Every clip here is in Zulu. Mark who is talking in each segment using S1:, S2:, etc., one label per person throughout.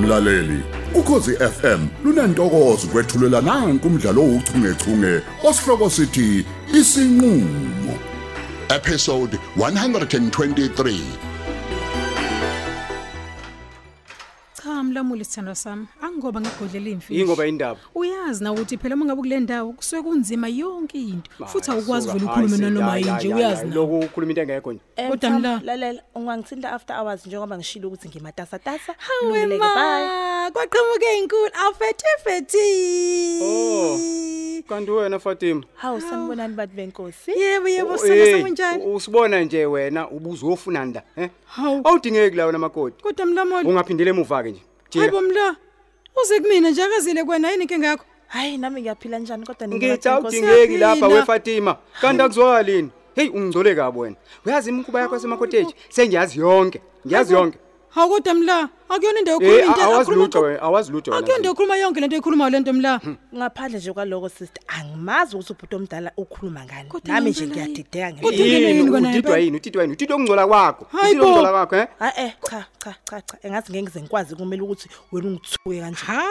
S1: mlaleli ukhosi FM lunantokozo kwethulela nange umdlalo ouchungechunge osihloko sithi isinqulo episode 123
S2: cha mlamuli sithandwa sami angoba ngigodlela imfihlo
S3: Yingoba indaba.
S2: uyazi na ukuthi phela uma ngabe kule ndawo kusuke kunzima yonke into futhi awukwazi
S3: Suka,
S2: vele
S3: hayi,
S2: ukhulume
S3: se-
S2: nanoma
S3: hayi,
S2: yinje
S3: hayi,
S2: uyazi
S3: hayi,
S2: na
S3: Lokhu ukhuluma into engekho nje.
S4: Em,
S2: Kodwa
S4: Sam,
S2: mla-
S4: lalela ungangithinta after hours njengoba ngishilo ukuthi ngimatasatasa
S2: hawe ma kwaqhamuke inkulu afethefethi
S3: Oh. Kanti wena Fatima.
S4: hawu sanibonani bantu benkosi
S2: yebo yebo
S3: Oh,
S2: sona
S3: hey,
S2: sekunjani
S3: u- Usibona nje wena ubuzo ofunani la, he?
S2: Hawu.
S3: Awudingeki la wena makoti.
S2: kodwa mlamuli
S3: Ungaphindele emuva ke nje.
S2: hayibo
S3: Jika.
S2: mla uze kumina njakazile kwena yini inkinga yakho
S4: hayi nami ngiyaphila njani kodwa nina
S3: Ngithi
S4: bantu benkosi.
S3: awudingeki lapha
S2: siyaphila.
S3: weFatima. Kanti akuzwakala yini? Hey ungicole kabi wena. Uyazi imkhuba yakho yasemakottage sengiyazi yonke. Ngiyazi yonke.
S2: hawu kodwa mla akuyona indawo
S3: Eh
S2: yokhuluma into
S3: awazi
S2: akhuluma-
S3: lutho wena, awazi lutho wena. Hmm.
S2: akuyona indawo yokhuluma yonke lento ekhuluma lento mla
S4: ngaphandle nje kwaloko sister angimazi ukuthi ubhuti omdala ukhuluma ngani
S2: Kodwa ngempela
S4: nami nje
S2: yini?
S4: ngiyadideka ngempela.
S2: Kodwa ngempela yini
S3: Yini
S2: kona
S3: utitwa
S2: impela?
S3: yini? Utitwa yini? Utitwa ongcola kwakho.
S2: Hayi
S3: Utitwa
S2: bo.
S3: ongcola kwakho, he?
S4: ha-e cha cha cha cha engazi ngeke ngize ngikwazi kumele ukuthi wena ungithuke kanje
S2: hawe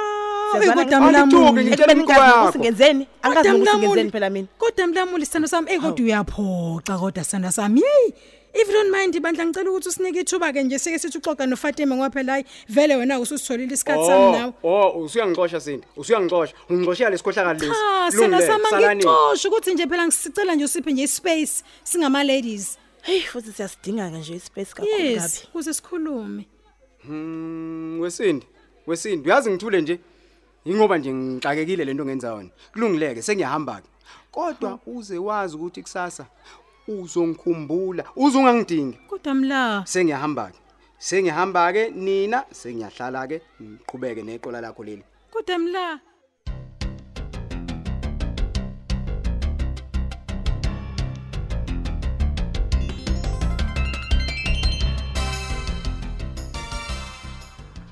S2: kodwa
S4: Siyazwana
S3: ngekhaya.
S2: mlamuli
S3: Angithuki, ngitshela
S4: Ekubeni
S3: imikhuba
S4: ngazi ukuthi
S3: yakho.
S4: ngenzeni angazi
S2: Kodwa
S4: ukuthi
S2: Mlamuli-
S4: ngenzeni phela mina
S2: kodwa mlamuli sithando sami eyi kodwa uyaphoxa kodwa sithando sami yeyi if you don't mind bandla ngicela ukuthi usinike ithuba-ke nje sike sithi uxoxa nofatima ngoba phela hayi vele wena ususitholile isikhathi sami nawe
S3: Oh, oh, usuyangixosha sini. Usuyangixosha. Ungixoshela lesikhohlakala lesi.
S2: cha sithando
S3: Lungile,
S2: sami
S3: salani.
S2: angixoshe ukuthi nje phela ngisicela nje usiphe nje ispace singama-ladies
S4: heyi futhi siyasidinga-ke nje ispace kakhulu kabi
S2: yes ukuze sikhulume
S3: Mm, Wesindi. Wesindi. Uyazi ngithule nje. Ingoba nje ngixakekile lento ngenza yona. Kulungileke sengiyahamba ke. Kodwa uze wazi ukuthi kusasa uzongikhumbula, uzungangidingi.
S2: kodwa mla
S3: Sengiyahamba ke. Sengiyahamba ke nina sengiyahlala ke ngiqhubeke neqola lakho leli.
S2: kodwa mla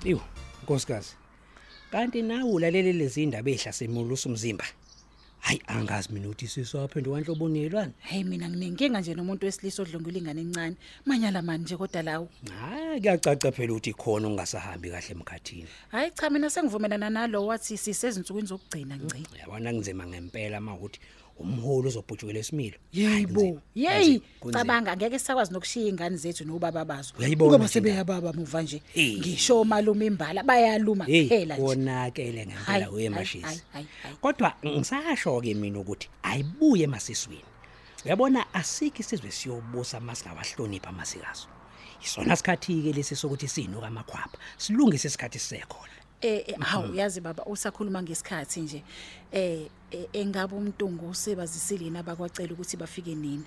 S5: Iwu, nkosikazi. Kanti nawu lalela lezi indaba ezihlasemulusa umzimba. Hayi angazi mina uthi sisaphenduka anhlobonelwane.
S6: hayi mina nginenkinga nje nomuntu wesilisa odlwengula ingane encane manyala mani nje kodwa lawo
S5: Hayi kuyacaca phela ukuthi khona ungasahambi kahle emkhathini.
S6: hhayi cha mina sengivumelana nalo wathi sisezinsukwini zokugcina nci
S5: Yabona kunzima ngempela mawuthi umholi uzobhujukela esimilo. Hayi,
S6: yibo
S5: kunzima.
S6: yeyi
S5: Kunzima, kunzima.
S6: cabanga ngeke sisakwazi nokushiya iy'ngane zethu nobaba bazo
S5: Uyayibona
S6: ngoba
S5: nje indaba.
S6: sebeyababa muva nje
S5: Eh.
S6: ngisho omaluma imbala bayaluma
S5: Hey,
S6: kuphela nje
S5: konakele
S6: Hayi,
S5: ngempela we
S6: hayi,
S5: mashisi.
S6: hayi, hayi, hayi.
S5: Kodwa ngisasho ke mina ukuthi ayibuye emasisweni. Uyabona asiki sizwe siyobusa masingawahlonipha amasikazo. Isona sikhathi ke lesi sokuthi sinuka amakhwapha. Silungise isikhathi sisekhona.
S6: Eh eh,
S5: Mm-hmm.
S6: hawu yazi baba usakhuluma ngesikhathi nje eh eh, engabe umntungu usebazisile yini abakwacela ukuthi bafike nini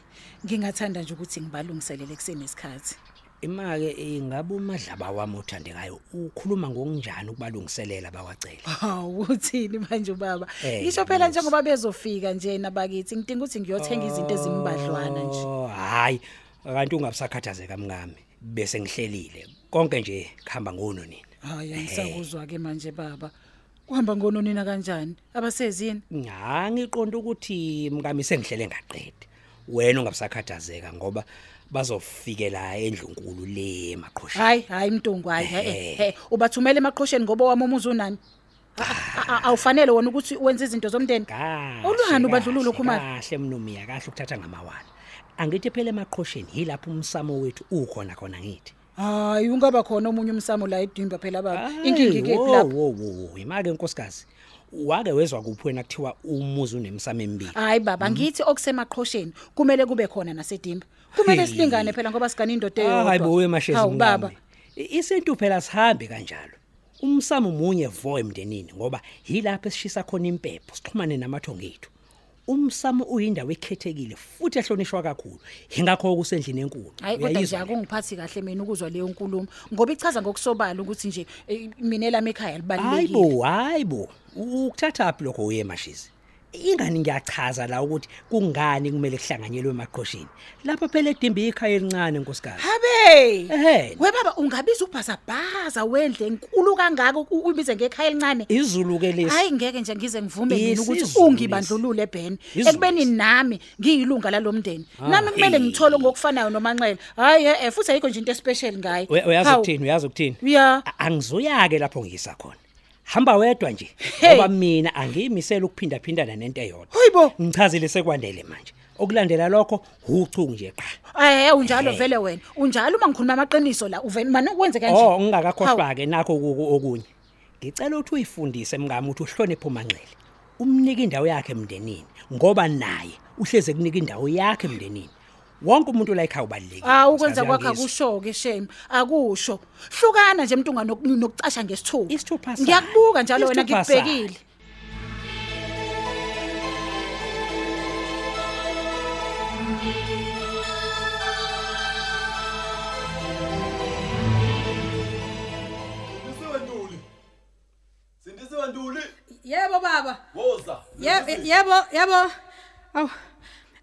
S6: ngingathanda nje ukuthi ngibalungiselele kusenesikhathi
S5: Imake ingabe umadlaba wami othandekayo ukhuluma ngokunjani ukubalungiselela bawacela.
S6: hawu uthini manje ubaba
S5: Eh,
S6: ngisho phela njengoba bezofika nje nabakithi ngidinga ukuthi ngiyothenga izinto ezimbadlwana nje
S5: Oh, hayi kanti ungabusakhathazeka mngame bese ngihlelile. Konke nje kuhamba ngono nina.
S6: hayi angisakuzwa ke manje baba uhamba ngononina kanjani abasezini
S5: Nga ngiqonda ukuthi mkami sengihlele ngaqedwe. Wena ungabusakhathazeka ngoba bazofikela endlunkulu le maqhosha.
S6: hayi hayi mntungu hayi
S5: Ehhe.
S6: he ubathumela emaqhosheni ngoba wami umuzi unani A- a- a- awufanele wona ukuthi wenze izinto zomndeni
S5: Kahle.
S6: Uluhani ubandlululo
S5: kahle,
S6: Khumalo.
S5: Kahle mnumi yakahle ukuthatha ngamawala. Angithi phela emaqhosheni yilapho umsamo wethu ukhona khona ngithi.
S6: hayi ungaba khona omunye umsamo la edimba phela baba
S5: Hayi,
S6: inkingi ke
S5: wo,
S6: lapho
S5: wo, wo, wo. Imake nkosikazi. Wake wezwa kuphi wena kuthiwa umuzi unemsamo emibili.
S6: hayi baba
S5: Mhm.
S6: ngithi okusemaqhosheni kumele kube khona nasedimba kumele
S5: Hey. Ah,
S6: silingane phela ngoba sigane indoda eyodwa
S5: Hayi bo emashezi
S6: Hawu, baba
S5: mngame. I- Isintu phela sihambe kanjalo. Umsamo munye vo emndenini ngoba yilapho esishisa khona impepho sixhumane namathongo ethu. Umsamo uyindawo ekhethekile futhi ehlonishwa kakhulu. Ingakho kusendlini enkulu.
S6: hayi kodwa nje
S5: Uyayizwa le?
S6: akungiphathi kahle mina ukuzwa leyo nkulumo ngoba ichaza ngokusobala ukuthi nje eh, mina elami ekhaya
S5: Hayibo,
S6: libalulekile
S5: hayibo. Ukuthatha aphi lokho uye emashizi. ingani ngiyachaza la ukuthi kungani kumele kuhlanganyelwe emaqhosheni lapho phela edimba ikhaya elincane nkosikazi
S6: Habe.
S5: Ehhe.
S6: We baba ungabiza ubhazabhaza wendle enkulu kangaka u- uyibize ngekhaya elincane.
S5: izulu ke lesi
S6: Hayi ngeke nje ngize ngivume yini ukuthi
S5: Isizulu
S6: ungibandlulule Ben.
S5: Izulu
S6: Ekubeni
S5: lesi.
S6: nami ngiyilunga lalomndeni.
S5: Ah,
S6: Nami kumele
S5: hey.
S6: ngithole ngokufanayo nomanxele. Hayi eh futhi ayikho nje into especially ngaye.
S5: We- uyazi
S6: Hawu.
S5: ukuthini uyazi ukuthini
S6: Ya.
S5: A- angizuya ke lapho ngiyisa khona hamba wedwa nje
S6: Hey.
S5: ngoba mina angiyimisela ukuphinda phindana nento eyodwa
S6: Hoyibo.
S5: ngichazile sekwandele manje okulandela lokho huchu nje qha
S6: Eh unjalo
S5: Ehhe.
S6: vele wena. Unjalo uma ngikhuluma amaqiniso la uvela manje ukwenze kanje.
S5: Oh,
S6: Hawu.
S5: ngingakakhohlwa ke nakho kuku okunye. Ngicela ukuthi uyifundise mngami ukuthi uhloniphe uManxele. Umnike indawo yakhe emndenini ngoba naye uhleze kunika indawo yakhe emndenini. Wonke umuntu la ekhaya ubalekile.
S6: Ah ukwenza kwakhe
S5: Saziyangizwa.
S6: akusho ke shame akusho hlukana nje mntunga nok- nokucasha ngesithupa
S5: Isithupha sayo.
S6: ngiyakubuka njalo wena
S5: Isithupha sayo.
S6: ngikubhekile
S7: Sindisiwe Ntuli. Sindisiwe Ntuli.
S2: yebo baba
S7: Woza.
S2: Ye- yebo yebo aw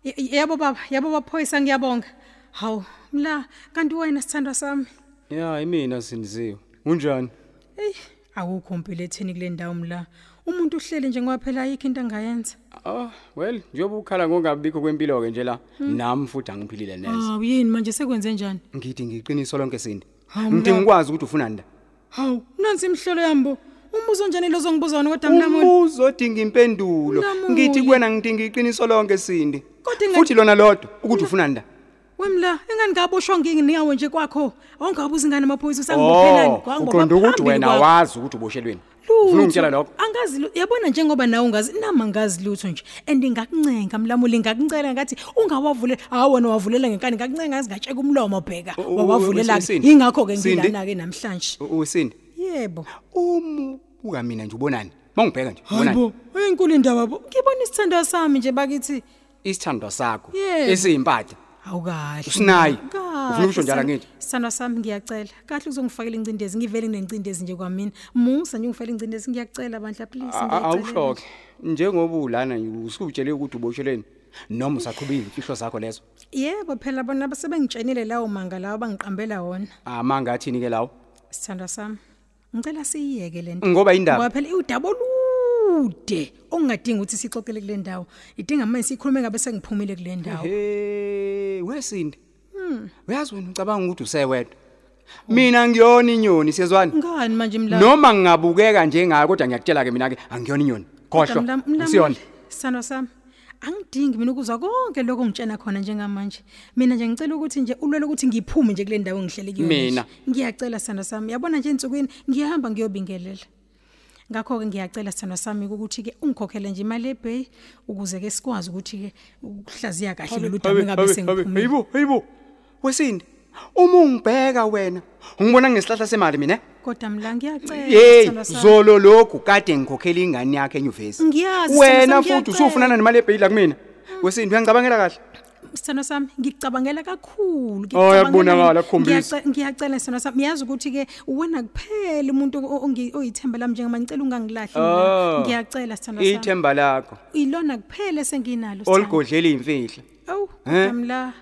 S2: ye- yebo baba yebo baphoyisa ngiyabonga hawu mla kanti wena sithandwa sami
S3: ya imina sindisiwe unjani
S2: eyi awukho mpilo etheni kule ndawo mla umuntu uhleli nje ngoba phela ayikho into angayenza
S3: ah well njengoba ukhala ngokungabikho kwempilo-ke nje la nami futhi angiphilile neze
S2: hawu yini manje sekwenze njani
S3: ngithi ngiqiniso lonke sindi
S2: Hawu,
S3: ngithi
S2: mngani.
S3: ngikwazi ukuthi ufuna nda
S2: hawu nansi imihlolo yambo umbuzo njani lo zongibuzwa wona kodwa mlamoni
S3: umbuzo odinga impendulo
S2: Mlamuli.
S3: ngithi kuwena ngidinga iqiniso lonke sindi
S2: Kodwa enga-
S3: futhi lona lodwa ukuthi ufuna nda
S2: wemla engangingaboshwa ngingawo nje kwakho awungabuza ingane amaphoyisa usangibophelani
S3: oh uqonda ukuthi wena wazi ukuthi uboshelweni ufuna ungitshela lokho
S2: angazi lu- yabona njengoba nawe ungazi nama ngazi lutho nje and ngakuncenga mlamuli ngakuncela ngathi ungawavule hawo wena wavulela ngenkani ngakuncenga ngazi ngatsheka umlomo bheka
S3: Oh, oh,
S2: wawavulela
S3: oh, Sindi.
S2: ingakho ke
S3: Sindi.
S2: ngilana ke namhlanje
S3: U- usindi
S2: yebo
S3: uma ubuka mina nje ubonani mawungibheka nje ubonani
S2: hayibo eyinkulu indaba bo ngibona isithando sami nje bakithi
S3: isithandwa sakho
S2: Yebo.
S3: esiyimpathe
S2: awukahle
S3: Usinaye.
S2: Kahle,
S3: Ufuna ukusho
S2: sithandwa-
S3: njalo angithi?
S2: sithandwa sami ngiyacela kahle ukuzongifakela ingcindezi ngivele nginengcindezi nje kwamina musa nje ungifakela ingcindezi ngiyacela bandla please
S3: A- a- awushoke njengoba ulana usukutshele ukuthi uboshelweni noma usaqhubile imfihlo zakho lezo
S2: yebo phela bona basebengitshenile lawo manga lawo abangiqambela wona
S3: amanga athini ke lawo
S2: sithandwa sami ngicela siyiyeke le nto
S3: ngoba indaba
S2: ngoba phela iwudaba olude okungadingi ukuthi siyixoxele kule ndawo idinga manje siyikhulume ngabe sengiphumile kule ndawo
S3: he wesindi uyazi wena ucabanga ukuthi usewedwa mina ngiyona inyoni siyezwani
S2: ngani manje mla
S3: noma ngingabukeka njengayo kodwa ngiyakutshela ke mina ke angiyona inyoni
S2: Kodwa
S3: khohlo
S2: mla- mla-
S3: siyona
S2: sithandwa sami angidingi mina ukuzwa konke lokho ngitshena khona njengamanje mina nje ngicela ukuthi nje ulwele ukuthi ngiphume nje kule ndawo engihlele kuyo nje.
S3: Mina.
S2: ngiyacela sithandwa sami yabona nje ensukwini ngiyahamba ngiyobingelela ngakho-ke ngiyacela sithandwa sami ukuthi-ke ungikhokhele nje imali ebheyi ukuze-ke sikwazi ukuthi-ke ukuhlaziya kahle lolu daba engabe sengiphumile
S3: hayibo hayibo wesindi uma ungibheka wena ungibona ngesihlahla semali mina eh?
S2: kodwa mla ngiyacela
S3: hey
S2: sithandwa sami.
S3: zolo lokhu kade ngikhokhela ingane yakhe enyuvesi
S2: Ngiyazi,
S3: wena
S2: Sithembiso,
S3: futhi
S2: ngiyacela.
S3: usufunana nemali ebheyila kumina wesindi uyangicabangela kahle
S2: sithando sami ngicabangela kakhulu
S3: Oh, yakubonakala,
S2: Ngiyacabangela-
S3: kukhombisa.
S2: Ngiyace- ngiyacela sithando sami yazi ukuthi-ke wena kuphela umuntu o- ongi- oyithemba lami njengoba ngicela ungangilahli mina.
S3: Oh.
S2: ngiyacela sithando sami
S3: ithemba lakho
S2: ilona kuphela esenginalo Sithando.
S3: oligodlela iy'mfihla
S2: Awu,
S3: Eh?
S2: kodwa mla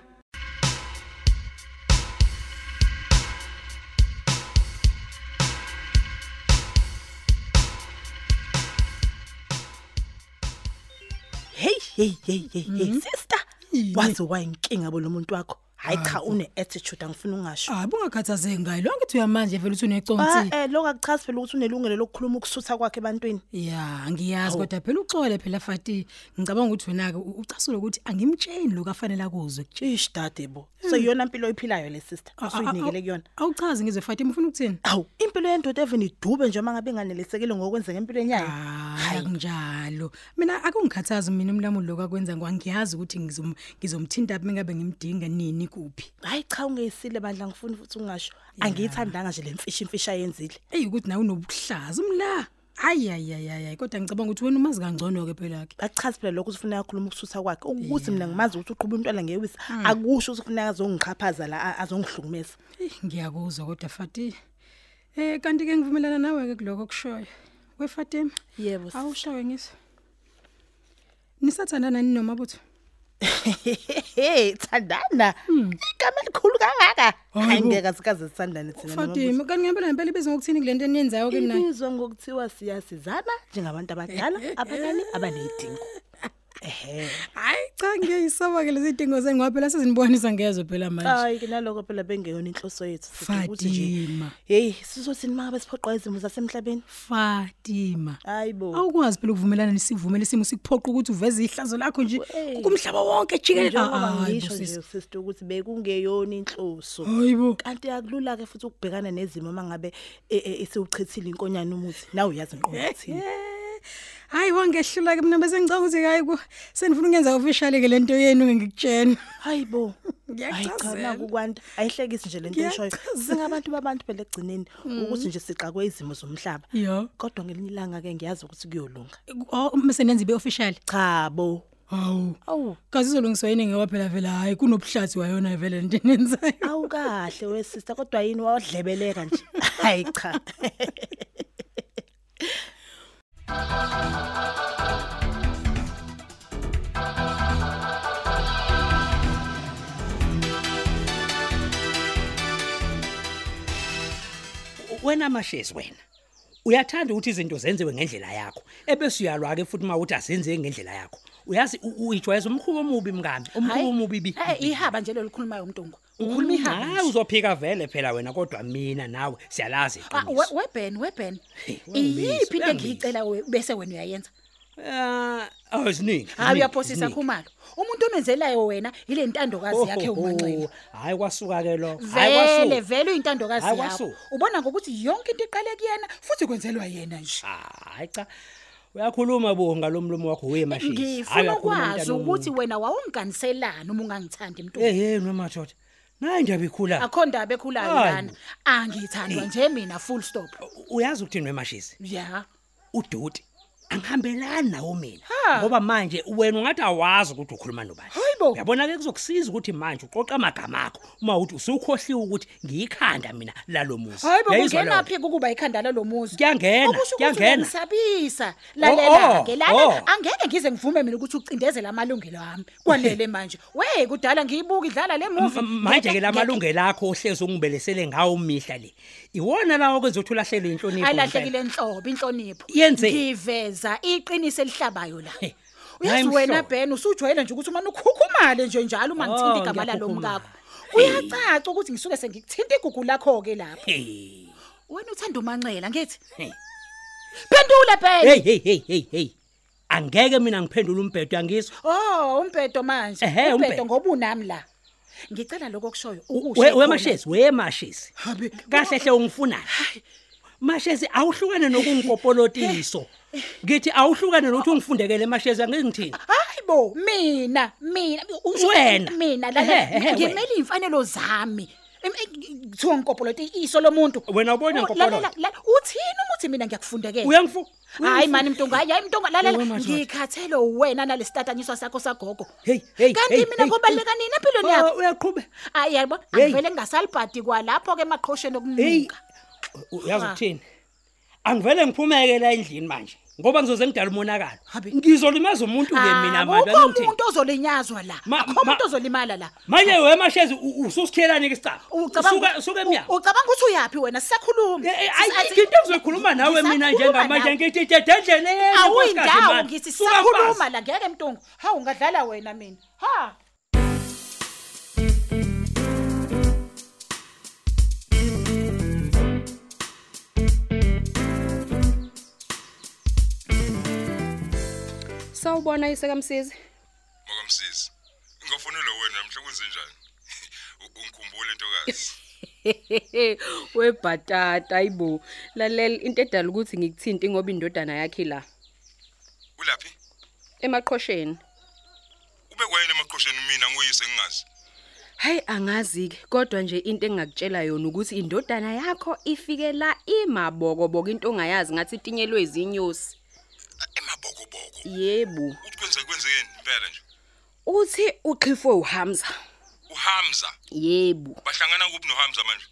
S4: hey hey hey hey hey sister wazi wayinkinga bo lo muntu wakho hayi cha une attitude angifuni ungasho
S2: hayi Ah, bungakhathazeki ngayo lo ngithi uyamanje vele uthi
S4: Ah,
S2: uneconsi
S4: eh lokho akuchazi phela ukuthi unelungelo lokukhuluma ukusutha kwakhe ebantwini
S2: ya ngiyazi kodwa phela uxole phela fati ngicabanga ukuthi wena-ke u- ucasule ukuthi angimtsheni lokhu afanele akuzwe
S4: ish dade bo Hmm. Ah, so iyona impilo oyiphilayo le sister usuyinikele kuyona
S2: awuchazi ngizwe fati mfuna ukuthini
S4: awu impilo yendoda even idube nje uma ngabe inganelisekile ngokwenzeka empilweni yayo
S2: hayi kunjalo mina akungikhathazi mina umlamulo loku akwenza ngoba ngiyazi ukuthi ngizom- ngizomthinta phi mengabe ngimdinga nini kuphi
S4: hayi cha ungeyisile bandla ngifuni futhi ungasho angiyithandanga nje le mfishi imfishi ayenzile
S2: eyi ukuthi nawe unobuhlaza umla ayi ayi ayi ayi ayi. kodwa ngicabanga ukuthi wena umazi kangcono-ke phela-ke
S4: achazi phela lokho ukuthi ufuneka akhuluma ukusutha kwakhe ukuthi mina ngimazi ukuthi uqhuba umntwana ngewisa akusho ukuthi kufuneka azongiqhaphaza la a- azongihlukumeza
S2: eyi ngiyakuzwa kodwa fati um kanti-ke ngivumelana nawe-ke kuloko okushoyo wefatima
S4: Yebo, sis.
S2: awushawe ngiso nisathandana nini nomabutho
S4: hey thandana igama elikhulu kangaka angeke sikaze sithandane thina
S2: Fatima kanti ngempela ngempela ibiza ngokuthini kule nto eniyenzayo ke nayo
S4: ibizwa ngokuthiwa siyasizana njengabantu abadala abanani abaneyidingo ehe
S2: hayi cha ngiyisaba ke lezi dingo zengwa phela sezinibonisa ngezo phela manje
S4: hayi ke naloko phela bengeyona inhloso yethu sidinga
S2: Fatima.
S4: hey sizothini maka besiphoqwa izimo zasemhlabeni
S2: Fatima
S4: hayi bo
S2: awukwazi phela ukuvumelana nesivumele simo sikuphoqa ukuthi uveze ihlazo lakho nje
S4: Hey.
S2: kumhlaba wonke Ah, jikele
S4: njengoba ngisho nje sister ukuthi bekungeyona inhloso
S2: hayibo
S4: kanti akulula ke futhi ukubhekana nezimo eh, mangabe esiuchithile inkonyana umuthi nawe uyazi inqondo
S2: hayi wangehlula ke mina bese ngicela ukuthi hayi ku senifuna ukwenza official ke lento yenu ke ngikutshena
S4: hayibo
S2: Ngiyachazela.
S4: ukwanda ayihlekisi nje lento eshoyo
S2: Ngiyachazela.
S4: singabantu babantu phela ekugcineni ukuthi nje siqakwe izimo zomhlaba
S2: Yeah.
S4: kodwa ngelinye ilanga ke ngiyazi ukuthi kuyolunga
S2: oh mse nenze ibe official
S4: cha bo
S2: hawu
S4: awu
S2: kaze izolungiswa yini ngewa phela vela hayi kunobuhlazi wayona vele lento enenzayo
S4: awukahle wesista kodwa yini wawadlebeleka nje hayi cha
S5: wena mashezi wena uyathanda ukuthi izinto zenziwe ngendlela yakho ebese uyalwa ke futhi mawuthi azenzeke ngendlela yakho uyazi u- uyijwayeza umkhubo omubi mngani umkhubo omubi Mm, bi
S6: hey Eh, ihaba nje lolukhulumayo umntungu ukhuluma ihaba
S5: hayi uzophika vele phela wena kodwa mina nawe siyalazi
S6: Ah,
S5: iqiniso.
S6: we- weben weben iyiphi into engiyicela we- bese wena uyayenza
S5: Eh, awuziningi
S6: hayi uyaphosisa khumalo umuntu onenzelayo wena ile ntandokazi yakhe umanxele
S5: hayi kwasuka ke lo
S6: vele vele uyintandokazi
S5: Hayi,
S6: yakho
S5: kwasu.
S6: ubona ngokuthi yonke into iqale kuyena futhi kwenzelwa yena nje
S5: hayi cha uyakhuluma bo ngalomlomo wakho we mashezi
S6: ngifuna ukwazi ukuthi wena wawungiganiselani uma ungangithandi mntu
S5: hey hey noma thotha nayi ndaba ikhula
S6: akho ndaba ekhulayo
S5: Hayi.
S6: lana angithandwa nje mina full stop
S5: uyazi ukuthini wemashezi
S6: ya
S5: uduti angihambelani nawo mina ngoba manje wena ungathi awazi ukuthi ukhuluma nobani
S6: Hayibo.
S5: uyabona ke kuzokusiza ukuthi manje uqoqa amagama akho uma uthi usukhohliwe ukuthi ngiyikhanda mina lalomuzi
S6: hayi bokungenaphi kukuba ikhanda lalomuzi
S5: Kuyangena,
S6: okusho ukuthi
S5: kuyangena.
S6: uyangisabisa
S5: Oh, oh,
S6: lalela-ke lana
S5: oh.
S6: angeke ngize ngivume mina ukuthi ucindezele amalungelo ami kwanele manje we kudala ngiyibuka idlala le muvi
S5: manje ke lamalungelo akho ohlezi ungibelesele ngawo mihla le iwona lawo okwenza ukuthi ulahlelwe inhlonipho
S6: ayilahlekile nhlobo inhlonipho
S5: Yenzeni.
S6: ngiveza iqiniso elihlabayo la
S5: He,
S6: uyazi
S5: hhayi
S6: wena
S5: mhlobo.
S6: ben usujwayele nje ukuthi umane ukhukhumale nje njalo uma ngithinta
S5: Oh,
S6: igama lalomi
S5: ngiyakhukhumala.
S6: kakho kuyacaca ukuthi ngisuke sengikuthinta igugu lakho-ke lapho
S5: Hey.
S6: wena uthanda umanxela ngithi
S5: He.
S6: phendula ben
S5: hey hey hey hey hey angeke mina ngiphendule umbhedo yangizwa
S6: oh umbhedo manje
S5: Ehhe,
S6: umbhedo
S5: umbhedo.
S6: ngoba unami la ngicela lokho okushoyo ukusho
S5: We-
S6: khona.
S5: wemashezi wemashezi kahle hle ungifunani mashezi awuhlukane nokungikopolotiso ngithi awuhlukane nokuthi ungifundekele mashezi angeke ngithini
S6: hayi bo mina mina usho-
S5: Wena.
S6: mina
S5: Ehe, ehe,
S6: lalela
S5: wena.
S6: ngimele iy'mfanelo zami Em- em, kuthiwa ngikopolote iso lomuntu
S5: Wena ubona
S6: Oh,
S5: ngikopolote?
S6: lalela, la- uthini umuthi mina ngiyakufundekela
S5: uyangifu
S6: hayi mani mntunga hayi mntunga lalela
S5: Oh, madod-
S6: ngikhathele wena nalesi tatanyiswa sakho sagogo
S5: Hey, hey,
S6: kanti
S5: hey,
S6: mina
S5: hey,
S6: ngobaluleka nini empilweni yakho
S5: uyaqhubeka
S6: hayi yabo
S5: Hey.
S6: angivele ngingasalibhadi kwalapho-ke emaqhosheni
S5: hey
S6: okumuka
S5: u- uyazi
S6: Ah.
S5: ukuthini angivele ngiphumeke la endlini manje ngoba ngizoze ngidala umonakalo
S6: Habe.
S5: ngizolimaza umuntu ke mina manje
S6: akho
S5: angithini
S6: Ah, umuntu ozolinyazwa la
S5: Ma-
S6: akho umuntu
S5: ma-
S6: ozolimala la
S5: manje wemashezi u- ususikhiyelani ke isicaba
S6: Ucabanga
S5: suka
S6: ukuthi-
S5: suka emnyango
S6: u- ucabanga ukuthi uyaphi wena sisakhuluma
S5: Eh, eh,
S6: Sis-
S5: ayi,
S6: athi-
S5: into engizoyikhuluma nawe
S6: Ngisakhuluma
S5: mina njengamanje
S6: nawe.
S5: ngithi dedendlele yena
S6: awuyindawo ngithi sisakhuluma la ngeke mntungu hawu ungadlala wena mina ha
S8: sawubona isekamsizi
S9: Mokamsisi. Ngifunile wena namhla kunze njani? Ungikhumbule ntokazi.
S8: webhatata ayibo lalela into edala ukuthi ngikuthinte ngoba indodana yakhe la
S9: Ulaphi?
S8: emaqhosheni
S9: Ube kwayena emaqhosheni mina nguyise ngingazi.
S8: hayi angazi-ke kodwa nje into engingakutshela yona ukuthi indodana yakho ifike la imabokoboko into ongayazi ngathi itinyelwe izinyosi
S9: Emabokoboko.
S8: yebo
S9: Uthi kwenze kwenzekeni impela nje?
S8: uthi uqhifwe uhamza
S9: UHamza
S8: yebo
S9: bahlangana kuphi noHamza manje?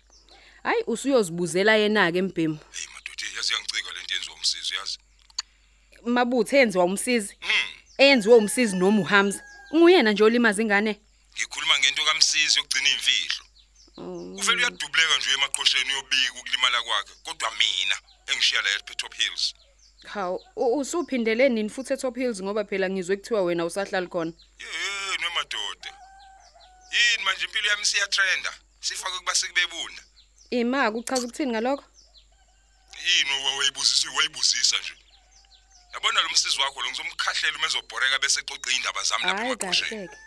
S8: hayi usuyozibuzela yena-ke mbhemu
S9: Hey madodhe, yazi yangicika lento yenziwa umsisi yazi.
S8: mabutho enziwa umsizi
S9: Mhm.
S8: eyenziwe umsizi noma uHamza. Unguyena nje olimaza ingane.
S9: Ngikhuluma ngento kamsizi yokugcina imfihlo. Uvele uyadubuleka nje emaqhosheni uyobika ukulimala kwakhe kodwa mina engishiya la ePetop Hills.
S8: Haw, u- usuphindele nini futhi eTop Hills ngoba phela ngizwe kuthiwa wena usahlali khona.
S9: Eh, nemadoda. Yini manje impilo yami siyatrenda. Sifake kuba sikubebunda.
S8: Ima ukuchaza ukuthini ngalokho?
S9: Yini owayibuzisa wayibuzisa nje. Yabona lo msizi wakho lo ngizomkhahlela uma ezobhoreka bese xoxa indaba zami lapha
S8: Hayi
S9: emaqhosheni.
S8: kahle.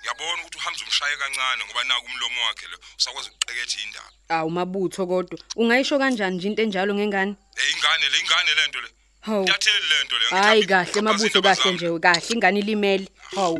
S9: Ngiyabona ukuthi uhamza umshaye kancane ngoba naku umlomo wakhe lo usakwazi ukuqeketha indaba.
S8: Awu mabutho kodwa. Ungayisho kanjani nje into enjalo ngengane?
S9: Eh ingane le ingane lento le.
S8: Hawu.
S9: Ngiyatheli lento le.
S8: Oh. Hayi
S9: ngithatha
S8: kahle
S9: iqhaphaza
S8: mabutho
S9: indaba
S8: kahle
S9: zami.
S8: nje kahle ingane ilimele. Hawu.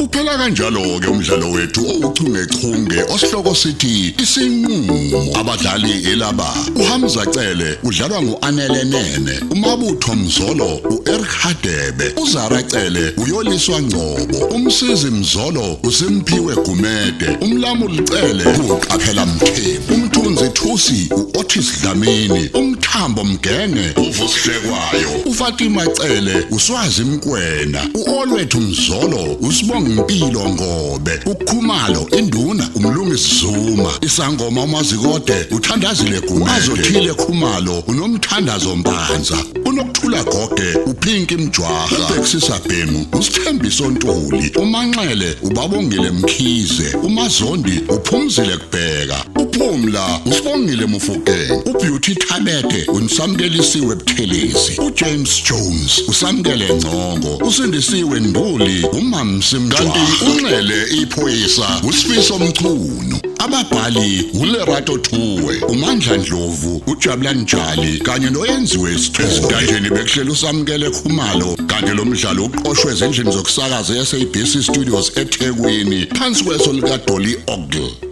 S1: Uphela kanjalo ke umdlalo wethu ouchungechunge osihloko sithi isinqulo abadlali elaba uHamza Cele udlalwa nguAnele Nene uMabutho Mzolo uEric Hadebe uZara Cele uyoliswa Ngcobo umsizi Mzolo uSimpiwe Gumede umlamuli Cele uqaphela Mthembu umthunzi Thusi uOtis Dlamini umthambo Mgenge uvusihlekwayo uFatima Cele uswazi Mkwena uOlwethu Mzolo usibonga impilo ngobe ukhumalo induna umlungisi Zuma isangoma umazikode uthandazile Gumede azothile khumalo unomthandazo Mpanza unokuthula goge uphinki mjwaha ubhekisisa bhemu usithembiso ntuli umanxele ubabongile mkhize umazondi uphumzile kubheka uphumla usibongile mufukeng ubeauty thabete unisamkelisiwe buthelezi ujames jones usamkele ngcongo usindisiwe nduli umamsimkanti unxele iphoyisa usifiso mchunu ababhali ulerato thuwe umandla ndlovu ujabulani njali kanye noyenziwe isithezintandeni bekuhlela usamkele khumalo kanti lo mdlalo uqoshwe ezindlini zokusakaza i-sabc studios ethekwini phansi kweso likadoli ogle